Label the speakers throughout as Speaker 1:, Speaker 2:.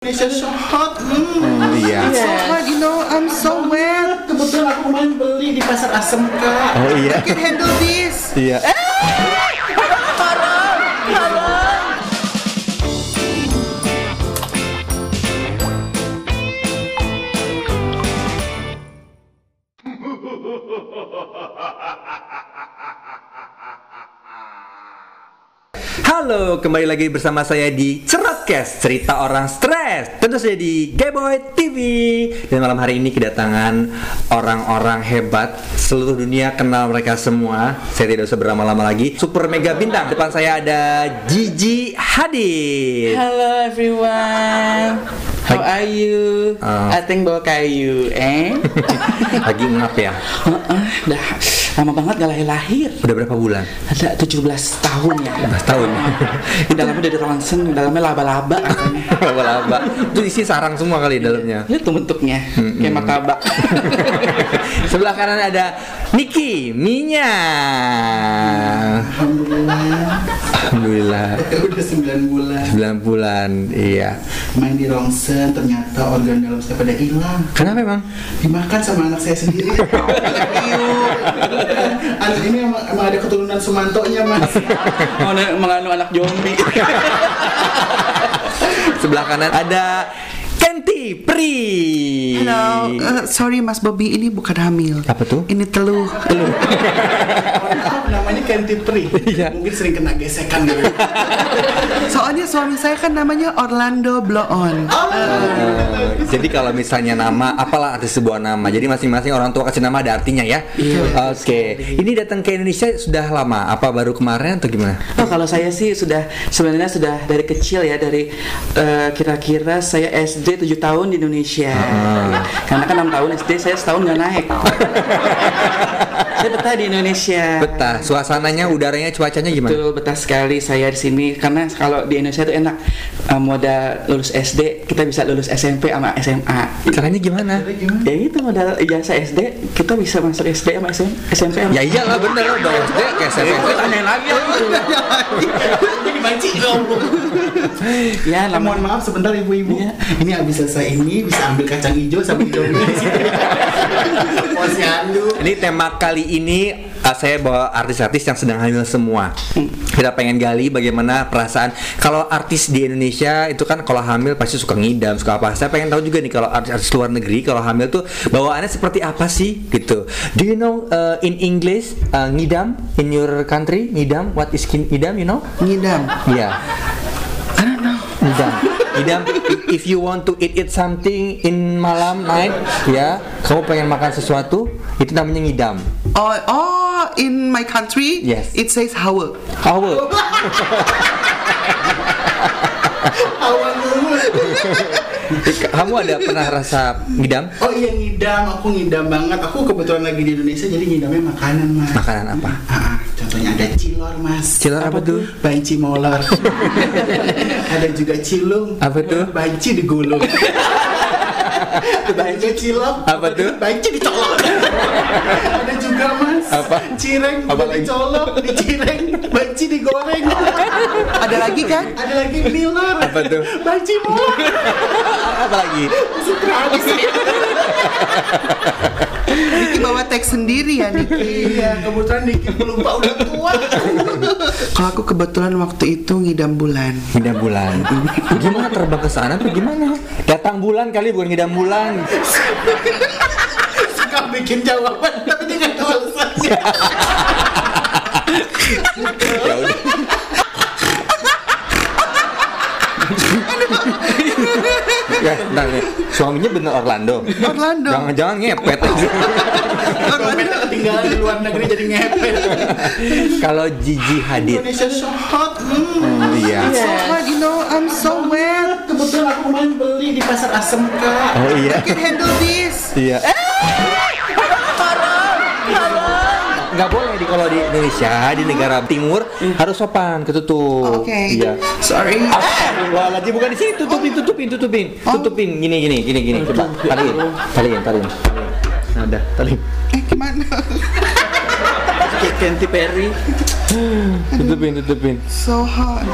Speaker 1: Indonesia so hot. Hmm.
Speaker 2: iya.
Speaker 1: It's so hot, you know. I'm so wet. Kebetulan aku kemarin beli di pasar asem kak.
Speaker 2: Oh
Speaker 1: I
Speaker 2: iya.
Speaker 1: can handle this.
Speaker 2: Iya. Halo, kembali lagi bersama saya di Cerotcast, cerita orang stres. Tentu saja di Gayboy TV. Dan malam hari ini kedatangan orang-orang hebat seluruh dunia kenal mereka semua. Saya tidak usah berlama-lama lagi. Super mega bintang. Depan saya ada Gigi Hadid.
Speaker 3: Hello everyone. How are you?
Speaker 2: Ah.
Speaker 3: Ateng bawa kayu, eh?
Speaker 2: Lagi ngap ya?
Speaker 3: Heeh, Dah lama banget gak lahir-lahir.
Speaker 2: Udah berapa bulan?
Speaker 3: Ada 17 tahun ya.
Speaker 2: 15 tahun.
Speaker 3: Di dalamnya dari ronsen, di dalamnya laba-laba katanya.
Speaker 2: Laba-laba. Itu isi sarang semua kali dalamnya.
Speaker 3: Lihat tuh bentuknya, kayak martabak.
Speaker 2: Sebelah kanan ada Niki Minya. Alhamdulillah.
Speaker 1: Udah 9 bulan
Speaker 2: 9 bulan, iya.
Speaker 1: main di rongsen ternyata organ dalam saya pada hilang
Speaker 2: Kenapa emang?
Speaker 1: dimakan sama anak saya sendiri anak ini emang, emang ada keturunan Sumantonya mas
Speaker 3: Mau na- menganu anak zombie.
Speaker 2: Iya. Sebelah kanan ada Kenti Pri.
Speaker 4: Halo, eh, sorry Mas Bobby, ini bukan hamil.
Speaker 2: Apa tuh?
Speaker 4: Ini teluh. Teluh.
Speaker 1: namanya Kenti Pri
Speaker 2: Iya.
Speaker 1: mungkin sering kena gesekan gitu
Speaker 4: Soalnya suami saya kan namanya Orlando Blow On.
Speaker 3: Oh,
Speaker 2: Eh, jadi kalau misalnya nama, apalah ada sebuah nama. Jadi masing-masing orang tua kasih nama ada artinya ya. Oke. Ini datang ke Indonesia sudah lama? Apa baru kemarin atau gimana?
Speaker 3: Oh, kalau saya sih sudah sebenarnya sudah dari kecil ya dari eh, kira-kira saya SD 7 tahun di Indonesia. Karena kan 6 tahun SD saya setahun nggak naik. saya betah di Indonesia.
Speaker 2: Betah. Suasananya, udaranya, cuacanya gimana?
Speaker 3: Betul betah sekali saya di sini karena kalau di Indonesia itu enak Eh, modal lulus SD kita bisa lulus SMP sama SMA.
Speaker 2: Caranya gimana?
Speaker 3: Ya itu modal ijazah SD kita bisa masuk SD sama SM, SMP sama
Speaker 2: Ya iyalah bener loh dong. Dia kayak SMS.
Speaker 3: Gue tanyain lagi ya
Speaker 1: jadi banci
Speaker 3: Ya,
Speaker 2: Eh,
Speaker 1: Ya, mohon
Speaker 3: namun
Speaker 1: maaf sebentar ibu-ibu.
Speaker 2: Iya.
Speaker 1: Ini habis selesai ini bisa ambil kacang hijau sama hijaunya di situ. Posyandu.
Speaker 2: Ini tema kali ini uh, saya bawa artis-artis yang sedang hamil semua. Kita pengen gali bagaimana perasaan kalau artis di Indonesia itu kan kalau hamil pasti suka ngidam, suka apa. Saya pengen tahu juga nih kalau artis-artis luar negeri kalau hamil tuh bawaannya seperti apa sih gitu. Do you know uh, in English uh, ngidam in your country? Ngidam what is kin- ngidam you know?
Speaker 4: Ngidam.
Speaker 2: Iya. Ngidam. Ngidam if you want to eat eat something in malam night ya, kamu pengen makan sesuatu itu namanya ngidam.
Speaker 4: Oh, oh, in my country,
Speaker 2: Yes.
Speaker 4: it says Hawa.
Speaker 2: Hawa.
Speaker 1: Awan dulu.
Speaker 2: Kamu ada pernah rasa ngidam?
Speaker 1: Oh iya ngidam, aku ngidam banget. Aku kebetulan lagi di Indonesia jadi ngidamnya makanan mas.
Speaker 2: Makanan apa?
Speaker 1: Ah, contohnya ada cilor mas.
Speaker 2: Cilor apa tuh?
Speaker 1: Banci molor. ada juga cilung.
Speaker 2: Apa tuh?
Speaker 1: Banci digulung. ada juga cilok.
Speaker 2: Apa tuh?
Speaker 1: Banci dicolok. ada juga mas.
Speaker 2: Apa?
Speaker 1: Cireng.
Speaker 2: Apa lagi?
Speaker 1: Dicolok, dicireng, banci digoreng.
Speaker 4: Ada lagi kan?
Speaker 1: ada lagi milor.
Speaker 2: Apa tuh?
Speaker 1: Banci molor.
Speaker 2: Apa lagi?
Speaker 1: Sutra habis.
Speaker 4: Niki bawa teks sendiri ya Niki.
Speaker 1: Iya, kebetulan dikit belum pak udah tua.
Speaker 4: Kalau aku kebetulan waktu itu ngidam bulan.
Speaker 2: Ngidam bulan. Gimana terbang ke sana tuh gimana? Datang bulan kali bukan ngidam bulan.
Speaker 1: Suka bikin jawaban tapi dia nggak tahu alasannya.
Speaker 2: Ya udah. ya, bentar nih. Suaminya bener Orlando.
Speaker 4: Orlando.
Speaker 2: Jangan-jangan ngepet.
Speaker 1: Dompetnya ketinggalan di luar negeri jadi ngepet.
Speaker 2: Kalau Gigi Hadid.
Speaker 1: Indonesia so hot. Hmm.
Speaker 2: Iya.
Speaker 4: So hot, you know, I'm so wet.
Speaker 1: Kebetulan aku kemarin beli di pasar asem kak.
Speaker 2: Oh iya.
Speaker 4: I can handle this.
Speaker 2: Iya. Nggak boleh di kalau di Indonesia di negara timur harus sopan ketutup.
Speaker 4: Oke.
Speaker 2: Iya.
Speaker 4: Sorry.
Speaker 2: Astagfirullahaladzim bukan di sini tutupin tutupin tutupin tutupin gini gini gini gini coba taliin taliin taliin. Nah, udah taliin
Speaker 4: Eh, gimana?
Speaker 3: kayak Katy Perry
Speaker 2: tutupin tutupin.
Speaker 4: So hot.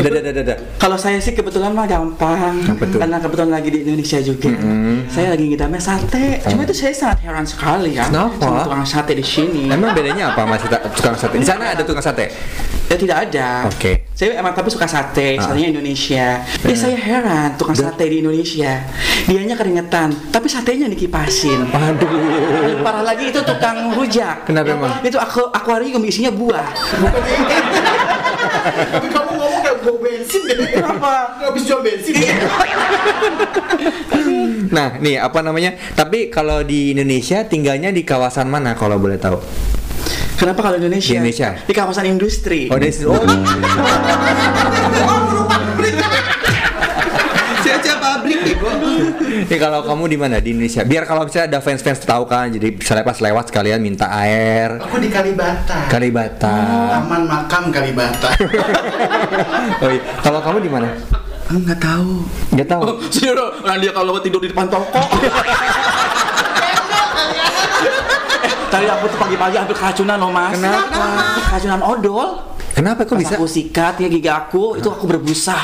Speaker 2: Udah, udah, udah, udah.
Speaker 3: Kalau saya sih kebetulan mah gampang,
Speaker 2: Apa tuh?
Speaker 3: karena kebetulan lagi di Indonesia juga.
Speaker 2: Mm-hmm.
Speaker 3: Saya lagi ngidamnya sate. Cuma itu saya sangat heran sekali ya.
Speaker 2: Oh. Kenapa?
Speaker 3: sama Tukang sate di sini.
Speaker 2: Emang bedanya apa mas Ita- tukang sate? Di sana ada tukang sate.
Speaker 3: Ya, tidak ada.
Speaker 2: Oke.
Speaker 3: Saya emang tapi suka sate,
Speaker 2: Ah.
Speaker 3: soalnya Indonesia. Ya saya heran tukang sate di Indonesia. Dianya keringetan, tapi satenya dikipasin.
Speaker 2: Aduh.
Speaker 3: Yang parah lagi itu tukang rujak.
Speaker 2: Kenapa emang?
Speaker 3: Itu aku akuarium isinya buah.
Speaker 1: Tapi kamu ngomong kayak bau bensin deh.
Speaker 3: Kenapa?
Speaker 1: Nggak habis jual bensin.
Speaker 2: Nah, nih apa namanya? Tapi kalau di Indonesia tinggalnya di kawasan mana kalau boleh tahu?
Speaker 3: Kenapa kalau Indonesia?
Speaker 2: Di Indonesia.
Speaker 3: Di kawasan industri.
Speaker 2: Oh, di oh,
Speaker 4: Caca pabrik bego.
Speaker 2: Nih kalau kamu di mana di Indonesia? Biar kalau misalnya ada fans-fans tahu kan, jadi misalnya pas lewat sekalian minta air.
Speaker 1: Aku di Kalibata.
Speaker 2: Kan- Kalibata.
Speaker 1: Taman makam Kalibata.
Speaker 2: Oh, iya. Kalau kamu di mana?
Speaker 4: Enggak tahu.
Speaker 2: Nggak tahu.
Speaker 3: Saya udah- nah dia kalau tidur di depan toko. Tadi aku tuh pagi-pagi hampir keracunan loh mas.
Speaker 2: Kenapa?
Speaker 3: Keracunan odol.
Speaker 2: Kenapa kok
Speaker 3: Pas
Speaker 2: bisa?
Speaker 3: aku sikat ya gigi aku itu aku berbusa.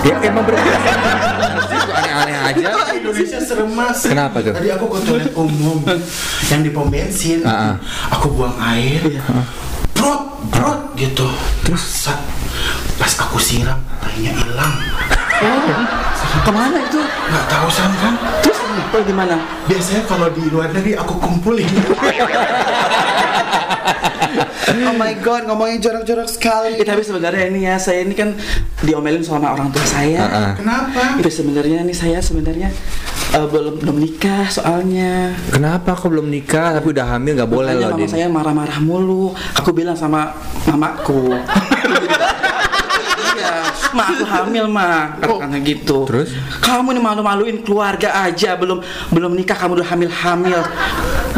Speaker 2: Ya emang berbeda. Aneh-aneh aja.
Speaker 1: Indonesia serem mas.
Speaker 2: Kenapa tuh?
Speaker 1: Tadi aku ke toilet umum yang di pom bensin.
Speaker 2: Ah, Iya. ah.
Speaker 1: Aku buang air. Prot, prot gitu. Terus sa- pas aku siram, airnya hilang.
Speaker 3: Kemana itu?
Speaker 1: Nggak tahu sam kan?
Speaker 3: Terus oh, gimana?
Speaker 1: Biasanya kalau di luar negeri aku kumpulin.
Speaker 4: Oh my god, ngomongnya jorok-jorok sekali.
Speaker 3: Eh, tapi sebenarnya ini ya saya ini kan diomelin sama orang tua saya.
Speaker 2: Ah, ah.
Speaker 1: Kenapa?
Speaker 3: Itu sebenarnya nih saya sebenarnya eh, belum belum nikah soalnya.
Speaker 2: Kenapa kok belum nikah tapi udah hamil nggak boleh
Speaker 3: Makanya
Speaker 2: loh,
Speaker 3: mama
Speaker 2: Din.
Speaker 3: saya marah-marah mulu. Aku bilang sama mamaku. Iya, Ma aku hamil ma katanya gitu.
Speaker 2: Oh. Terus?
Speaker 3: Kamu nih malu-maluin keluarga aja belum belum nikah kamu udah hamil-hamil.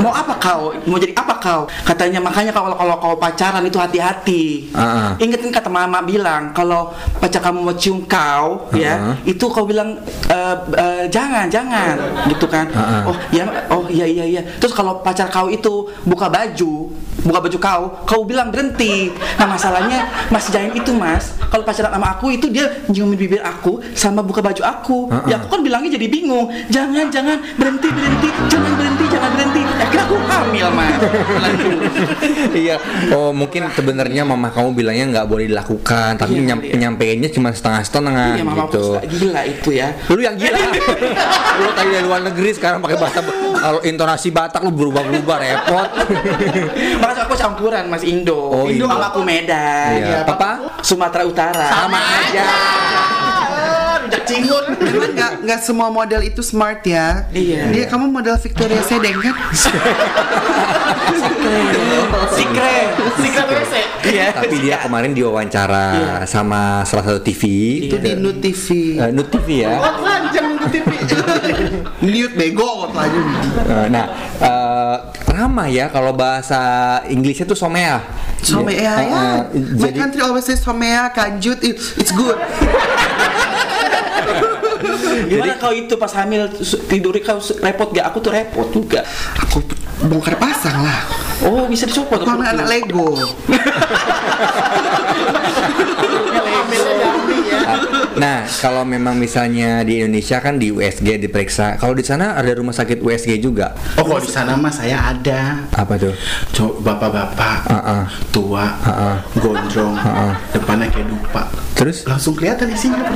Speaker 3: Mau apa kau? Mau jadi apa kau? Katanya makanya kalau kalau kau pacaran itu hati-hati.
Speaker 2: Ah, ah.
Speaker 3: Ingetin kata mama bilang kalau pacar kamu mau cium kau ya itu kau bilang "E, e, jangan jangan gitu kan.
Speaker 2: Ah, ah.
Speaker 3: Oh Ya, oh iya iya iya. Terus kalau pacar kau itu buka baju, buka baju kau, kau bilang berhenti. Nah masalahnya Mas Jain itu Mas, kalau pacaran sama aku itu dia nyiumin bibir aku sama buka baju aku.
Speaker 2: Heeh.
Speaker 3: Ya aku kan bilangnya jadi bingung. Jangan jangan berhenti berhenti, jangan berhenti jangan berhenti. Akhirnya aku hamil Mas. Langsung.
Speaker 2: iya oh mungkin sebenarnya mama kamu bilangnya nggak boleh dilakukan tapi
Speaker 3: Iya,
Speaker 2: nyam,
Speaker 3: iya.
Speaker 2: penyampaiannya cuma setengah setengah
Speaker 3: Iya mama aku
Speaker 2: gitu
Speaker 3: suka gila itu ya.
Speaker 2: lu yang gila lu tadi dari luar negeri sekarang pakai bahasa kalau intonasi batak lu berubah-berubah repot
Speaker 3: Makanya aku campuran Mas Indo.
Speaker 2: Oh,
Speaker 3: Indo
Speaker 2: iya.
Speaker 3: sama aku Medan.
Speaker 2: iya papa
Speaker 3: Sumatera Utara.
Speaker 2: Sama aja.
Speaker 1: Ah, Rujak cingur.
Speaker 4: Cuman nggak nggak semua model itu smart ya.
Speaker 3: Iya.
Speaker 4: Dia kamu model Victoria Sedeng kan?
Speaker 3: Sikre.
Speaker 1: Sikat rese.
Speaker 3: Iya.
Speaker 2: tapi dia kemarin diwawancara sama salah satu TV itu
Speaker 4: Di Nut TV.
Speaker 2: eh, Nut TV ya
Speaker 1: Kot lanjang ke TV.
Speaker 4: Newt bego kot aja.
Speaker 2: Eh, nah eh, ramah ya kalau bahasa Inggrisnya tuh somea
Speaker 4: Somea ya.
Speaker 2: Eh, eh,
Speaker 4: My
Speaker 2: jadi
Speaker 4: country always says Somea, kanjut, it- it's good.
Speaker 3: Gimana kau itu pas hamil su- tidurnya kau su- repot gak? Aku tuh repot juga.
Speaker 4: Aku bongkar pasang lah.
Speaker 3: Oh bisa dicopot.
Speaker 4: Aku anak, anak Lego.
Speaker 2: Nah, kalau memang misalnya di Indonesia kan di USG diperiksa. Kalau di sana ada rumah sakit USG juga.
Speaker 1: Oh kalau di sana mah saya ada.
Speaker 2: Apa tuh?
Speaker 1: Cowok bapak-bapak,
Speaker 2: Ah, ah.
Speaker 1: tua,
Speaker 2: Ah, ah.
Speaker 1: gondrong,
Speaker 2: Ah, ah.
Speaker 1: depannya kayak dupa.
Speaker 2: Terus?
Speaker 1: Langsung kelihatan isinya.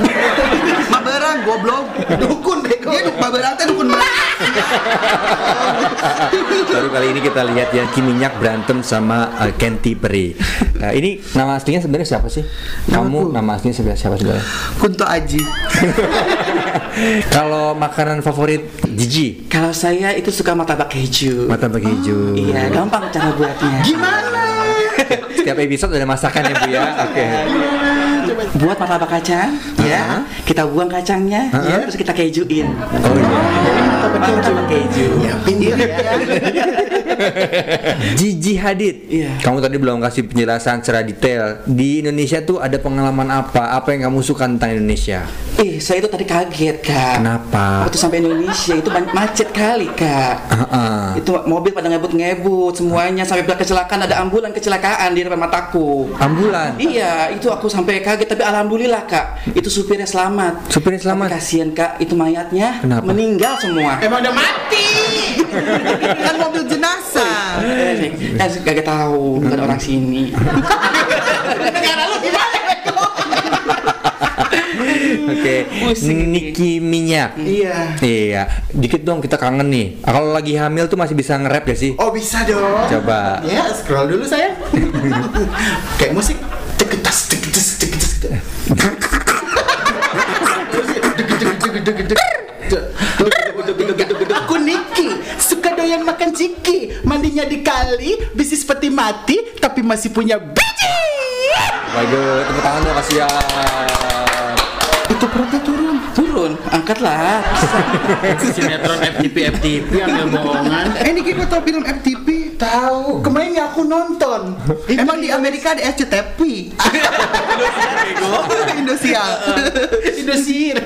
Speaker 4: Maberang goblok. Dukun bego. Dia dukun Maberangnya dukun Maberang.
Speaker 2: Ah, Baru kali ini kita lihat ya Ki Minyak berantem sama uh, Kenty Perry. Nah, ini nama aslinya sebenarnya siapa sih? Kamu nama aslinya sebenarnya siapa sebenarnya?
Speaker 4: Kunto Aji.
Speaker 2: Kalau makanan favorit Gigi,
Speaker 3: Kalau saya itu suka martabak keju.
Speaker 2: mata bagi hijau.
Speaker 3: Iya, gampang cara buatnya.
Speaker 2: Setiap episode ada masakan ya Bu ya. Oke.
Speaker 3: Buat martabak kacang,
Speaker 2: Aha.
Speaker 3: ya. Kita buang kacangnya, ya, terus kita kejuin.
Speaker 2: Oh iya.
Speaker 3: Martabak keju.
Speaker 1: Ya pinggir ya.
Speaker 2: Gigi Hadid.
Speaker 3: Iya.
Speaker 2: Kamu tadi belum kasih penjelasan secara detail. Di Indonesia tuh ada pengalaman apa? Apa yang kamu suka tentang Indonesia?
Speaker 3: Eh, saya itu tadi kaget, Kak.
Speaker 2: Kenapa?
Speaker 3: Waktu sampai Indonesia itu ban- macet kali, Kak.
Speaker 2: Heeh.
Speaker 3: Itu mobil pada ngebut-ngebut semuanya sampai kecelakaan ada ambulan kecelakaan di depan mataku.
Speaker 2: Ambulan.
Speaker 3: Iya, itu aku sampai kaget tapi alhamdulillah kak itu supirnya selamat
Speaker 2: Supirnya selamat?
Speaker 3: Tapi kasihan kak itu mayatnya
Speaker 2: Kenapa?
Speaker 3: meninggal semua
Speaker 1: Emang udah mati.
Speaker 4: kan mobil jenazah
Speaker 3: eh, Nick, eh kagak tahu bukan orang sini
Speaker 1: Negara lu gimana?
Speaker 2: Oke,
Speaker 3: Pusing ini.
Speaker 2: Niki Minyak.
Speaker 1: Iya.
Speaker 2: Iya, dikit dong kita kangen nih. Ah, Kalau lagi hamil tuh masih bisa nge-rap gak sih?
Speaker 1: Oh bisa dong.
Speaker 2: Coba.
Speaker 1: Ya scroll dulu saya. Kayak musik. Ceketas, ceketas, ceketas. Aku Niki, suka doyan makan ciki Mandinya di kali, bisi seperti mati Tapi masih punya biji
Speaker 2: Waduh, tepuk tangan dong kasihan.
Speaker 1: Itu perutnya turun
Speaker 3: turun angkatlah
Speaker 5: Sinetron FTP FTP.
Speaker 1: Yang gak bohongan
Speaker 4: eh Niki kok tau film FTP
Speaker 1: Tahu, kemarin yang Iya, aku nonton
Speaker 4: Emang di Amerika ada SCTP Indosial
Speaker 1: Indosiar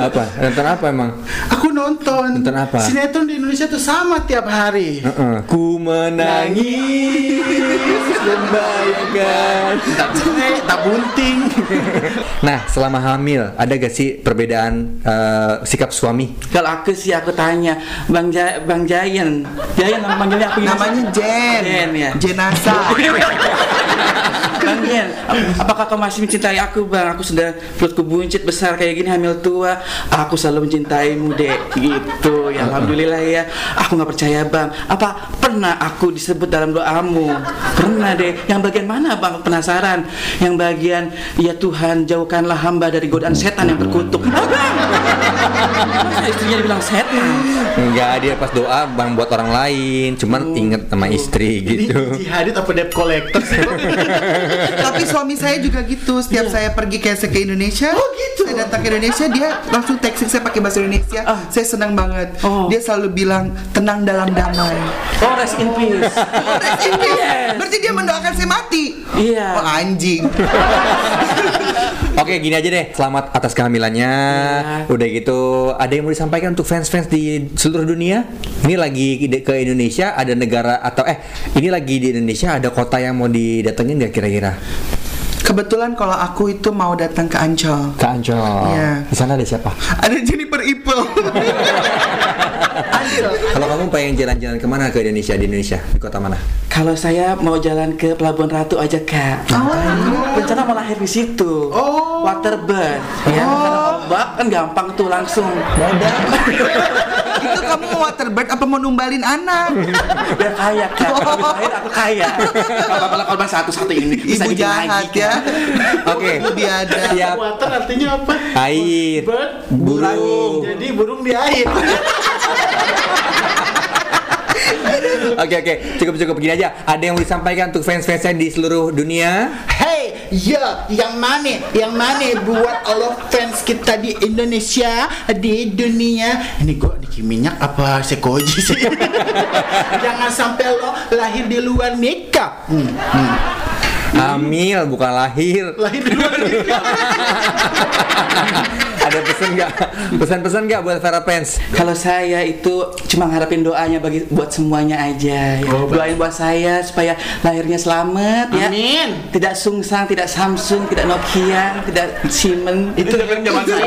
Speaker 2: Apa? Nonton apa emang?
Speaker 1: Aku nonton.
Speaker 2: Nonton apa?
Speaker 1: Sinetron di Indonesia tuh sama tiap hari.
Speaker 2: Heeh. Ku menangis membayangkan.
Speaker 1: Tak cerai, tak bunting.
Speaker 2: Nah, selama hamil ada gak sih perbedaan eh, sikap suami?
Speaker 3: kalau aku sih aku tanya bang ja bang Jayan Jayan nama panggilnya aku
Speaker 4: Namanya Jen
Speaker 3: Jen ya
Speaker 4: Jenazah
Speaker 3: Bang Jen, ap- apakah kau masih mencintai aku bang? Aku sudah perutku buncit besar kayak gini hamil tua. Aku selalu mencintaimu dek. Gitu ya alhamdulillah ya. Aku nggak percaya bang. Apa pernah aku disebut dalam doamu? Pernah deh. Yang bagian mana bang? Penasaran. Yang bagian ya Tuhan jauhkanlah hamba dari godaan setan yang terkutuk. Ah, Bang! Masa istrinya dibilang setan.
Speaker 2: Enggak, dia pas doa bang buat orang lain, cuman inget sama istri
Speaker 1: Ini
Speaker 2: gitu.
Speaker 1: jihadit apa debt collector sih?
Speaker 4: Tapi suami saya juga gitu. Setiap
Speaker 3: Iya.
Speaker 4: saya pergi ke ke Indonesia,
Speaker 1: Oh, gitu.
Speaker 4: Saya datang ke Indonesia, dia langsung texting saya pakai bahasa Indonesia.
Speaker 3: Ah.
Speaker 4: Saya senang banget.
Speaker 3: Oh.
Speaker 4: Dia selalu bilang tenang dalam damai.
Speaker 3: Oh rest in peace.
Speaker 4: Oh, Rest in peace.
Speaker 3: Yes.
Speaker 4: Berarti dia mendoakan saya mati.
Speaker 3: Iya.
Speaker 4: Oh, anjing.
Speaker 2: Oke, gini aja deh. Selamat atas kehamilannya.
Speaker 1: Iya.
Speaker 2: Udah gitu, ada yang mau disampaikan untuk fans-fans di seluruh dunia? Ini lagi ide- ke Indonesia, ada negara atau eh ini lagi di Indonesia ada kota yang mau didatengin nggak kira-kira?
Speaker 4: Kebetulan kalau aku itu mau datang ke Ancol.
Speaker 2: Ke Ancol.
Speaker 4: Iya.
Speaker 2: Di sana ada siapa?
Speaker 4: Ada Jennifer Ipel.
Speaker 2: Kalau kamu pengen jalan-jalan kemana ke Indonesia di Indonesia? Di kota mana?
Speaker 3: Kalau saya mau jalan ke Pelabuhan Ratu aja kak. Rencana mau lahir di situ.
Speaker 4: Ah. Oh.
Speaker 3: Waterbirth. Ya. Karena ombak kan gampang tuh langsung.
Speaker 4: itu kamu mau waterbird apa mau numbalin anak?
Speaker 3: Biar kaya kak. Habis lahir aku kaya. Kalau kalau korban satu satu ini bisa
Speaker 4: Ibu
Speaker 3: bikin
Speaker 4: jahat
Speaker 3: lagi,
Speaker 4: ya.
Speaker 3: Kak.
Speaker 2: Oke.
Speaker 4: Ibu biada.
Speaker 2: Siap.
Speaker 1: Water artinya apa?
Speaker 2: Air.
Speaker 1: Bird,
Speaker 2: Burung.
Speaker 1: Jadi burung di air.
Speaker 2: Oke oke, cukup cukup begini aja. Ada yang mau disampaikan untuk fans-fansnya di seluruh dunia?
Speaker 1: Hey, ya, yang mana? Yang mana buat all of fans kita di Indonesia, di dunia. Ini gua Niki minyak apa sekoji sih? Jangan sampai lo lahir di luar nikah. Hmm, hmm.
Speaker 2: Hamil bukan lahir.
Speaker 1: Lahir di luar nikah.
Speaker 2: ada pesan nggak? Pesan-pesan nggak buat Vera fans?
Speaker 3: Kalau saya itu cuma ngarepin doanya bagi buat semuanya aja. Ya.
Speaker 1: Oh,
Speaker 3: Doain buat saya supaya lahirnya selamat ya.
Speaker 1: Amin.
Speaker 3: Tidak sungsang, tidak Samsung, tidak Nokia, tidak Siemens.
Speaker 1: Itu dengerin zaman saya.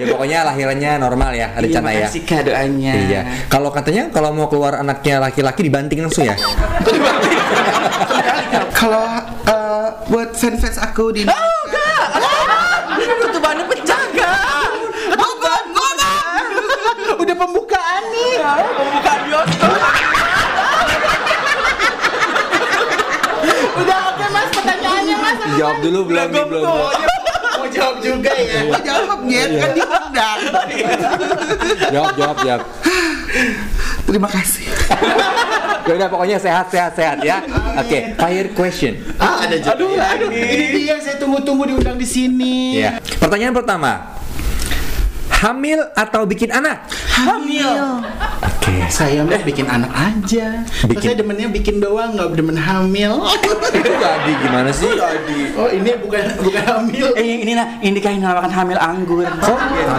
Speaker 2: Ya pokoknya lahirannya normal ya, ada
Speaker 3: Iya,
Speaker 2: rencana ya.
Speaker 3: makasih kak doanya.
Speaker 2: Iya. Kalau katanya kalau mau keluar anaknya laki-laki dibanting langsung ya.
Speaker 4: Kalau eh, buat fans-fans aku di Indonesia,
Speaker 3: Tutupannya kan pecah kak.
Speaker 4: Gobang, gobang. Udah pembukaan nih.
Speaker 3: Bukan bioskop.
Speaker 1: Udah oke mas pertanyaannya mas.
Speaker 2: Jawab dulu belum belum. belum.
Speaker 1: Mau jawab juga ya.
Speaker 4: Kok jawab Nyet?
Speaker 3: Iya.
Speaker 4: Kan diundang.
Speaker 2: Jawab jawab jawab.
Speaker 4: Terima kasih.
Speaker 2: Ya udah pokoknya sehat sehat sehat ya. Oke, fire question.
Speaker 1: Ah ada juga. Aduh, aduh. Ini Ya. dia yang saya tunggu-tunggu diundang di sini.
Speaker 2: Iya. Pertanyaan pertama. Hamil atau bikin anak?
Speaker 1: Hamil.
Speaker 2: Oke.
Speaker 1: Saya mah bikin anak aja.
Speaker 2: Bikin.
Speaker 1: Bikin. Saya demennya bikin doang, nggak demen hamil.
Speaker 2: Itu tadi gimana sih?
Speaker 1: Oh ini bukan bukan hamil.
Speaker 3: Eh yang ini nah, ini kan yang namakan
Speaker 1: iya.
Speaker 3: hamil anggur.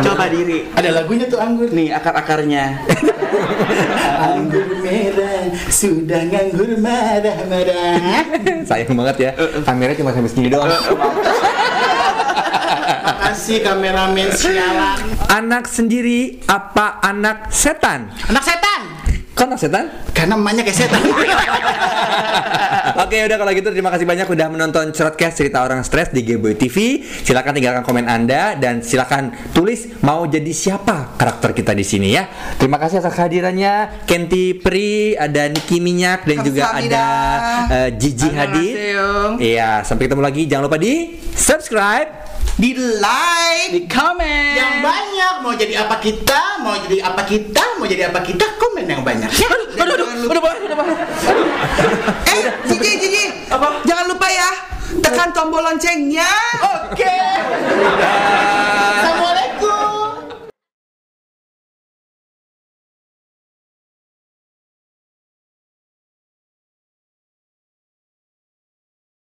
Speaker 3: Coba diri.
Speaker 1: Ada lagunya tuh anggur.
Speaker 3: Nih akar-akarnya.
Speaker 1: anggur merah sudah nganggur marah marah
Speaker 2: Sayang banget ya. Kamera cuma sampai segini doang.
Speaker 1: makasih kameramen sialan
Speaker 2: Anak sendiri apa anak setan?
Speaker 1: anak setan
Speaker 2: Kok anak setan?
Speaker 1: karena emaknya kayak setan
Speaker 2: Oke udah kalau gitu terima kasih banyak udah menonton Shortcast cerita orang stres di Gameboy TV. Silakan tinggalkan komen Anda dan silakan tulis mau jadi siapa karakter kita di sini ya. Terima kasih atas kehadirannya Kenti Pri, ada Niki Minyak dan juga ada
Speaker 4: Kamsahamnida.
Speaker 2: eh, Gigi Hadi.
Speaker 4: Annyeonghaseyo.
Speaker 2: Iya, sampai ketemu lagi. Jangan lupa di subscribe.
Speaker 4: Di like,
Speaker 3: Di komen.
Speaker 1: yang banyak mau jadi apa kita mau jadi apa kita mau jadi apa kita komen yang banyak
Speaker 3: Aduh, aduh, aduh, aduh, aduh, aduh.
Speaker 4: eh, Cici, Cici,
Speaker 3: Apa?
Speaker 4: jangan lupa ya, tekan tombol loncengnya.
Speaker 3: Oke.
Speaker 1: Sama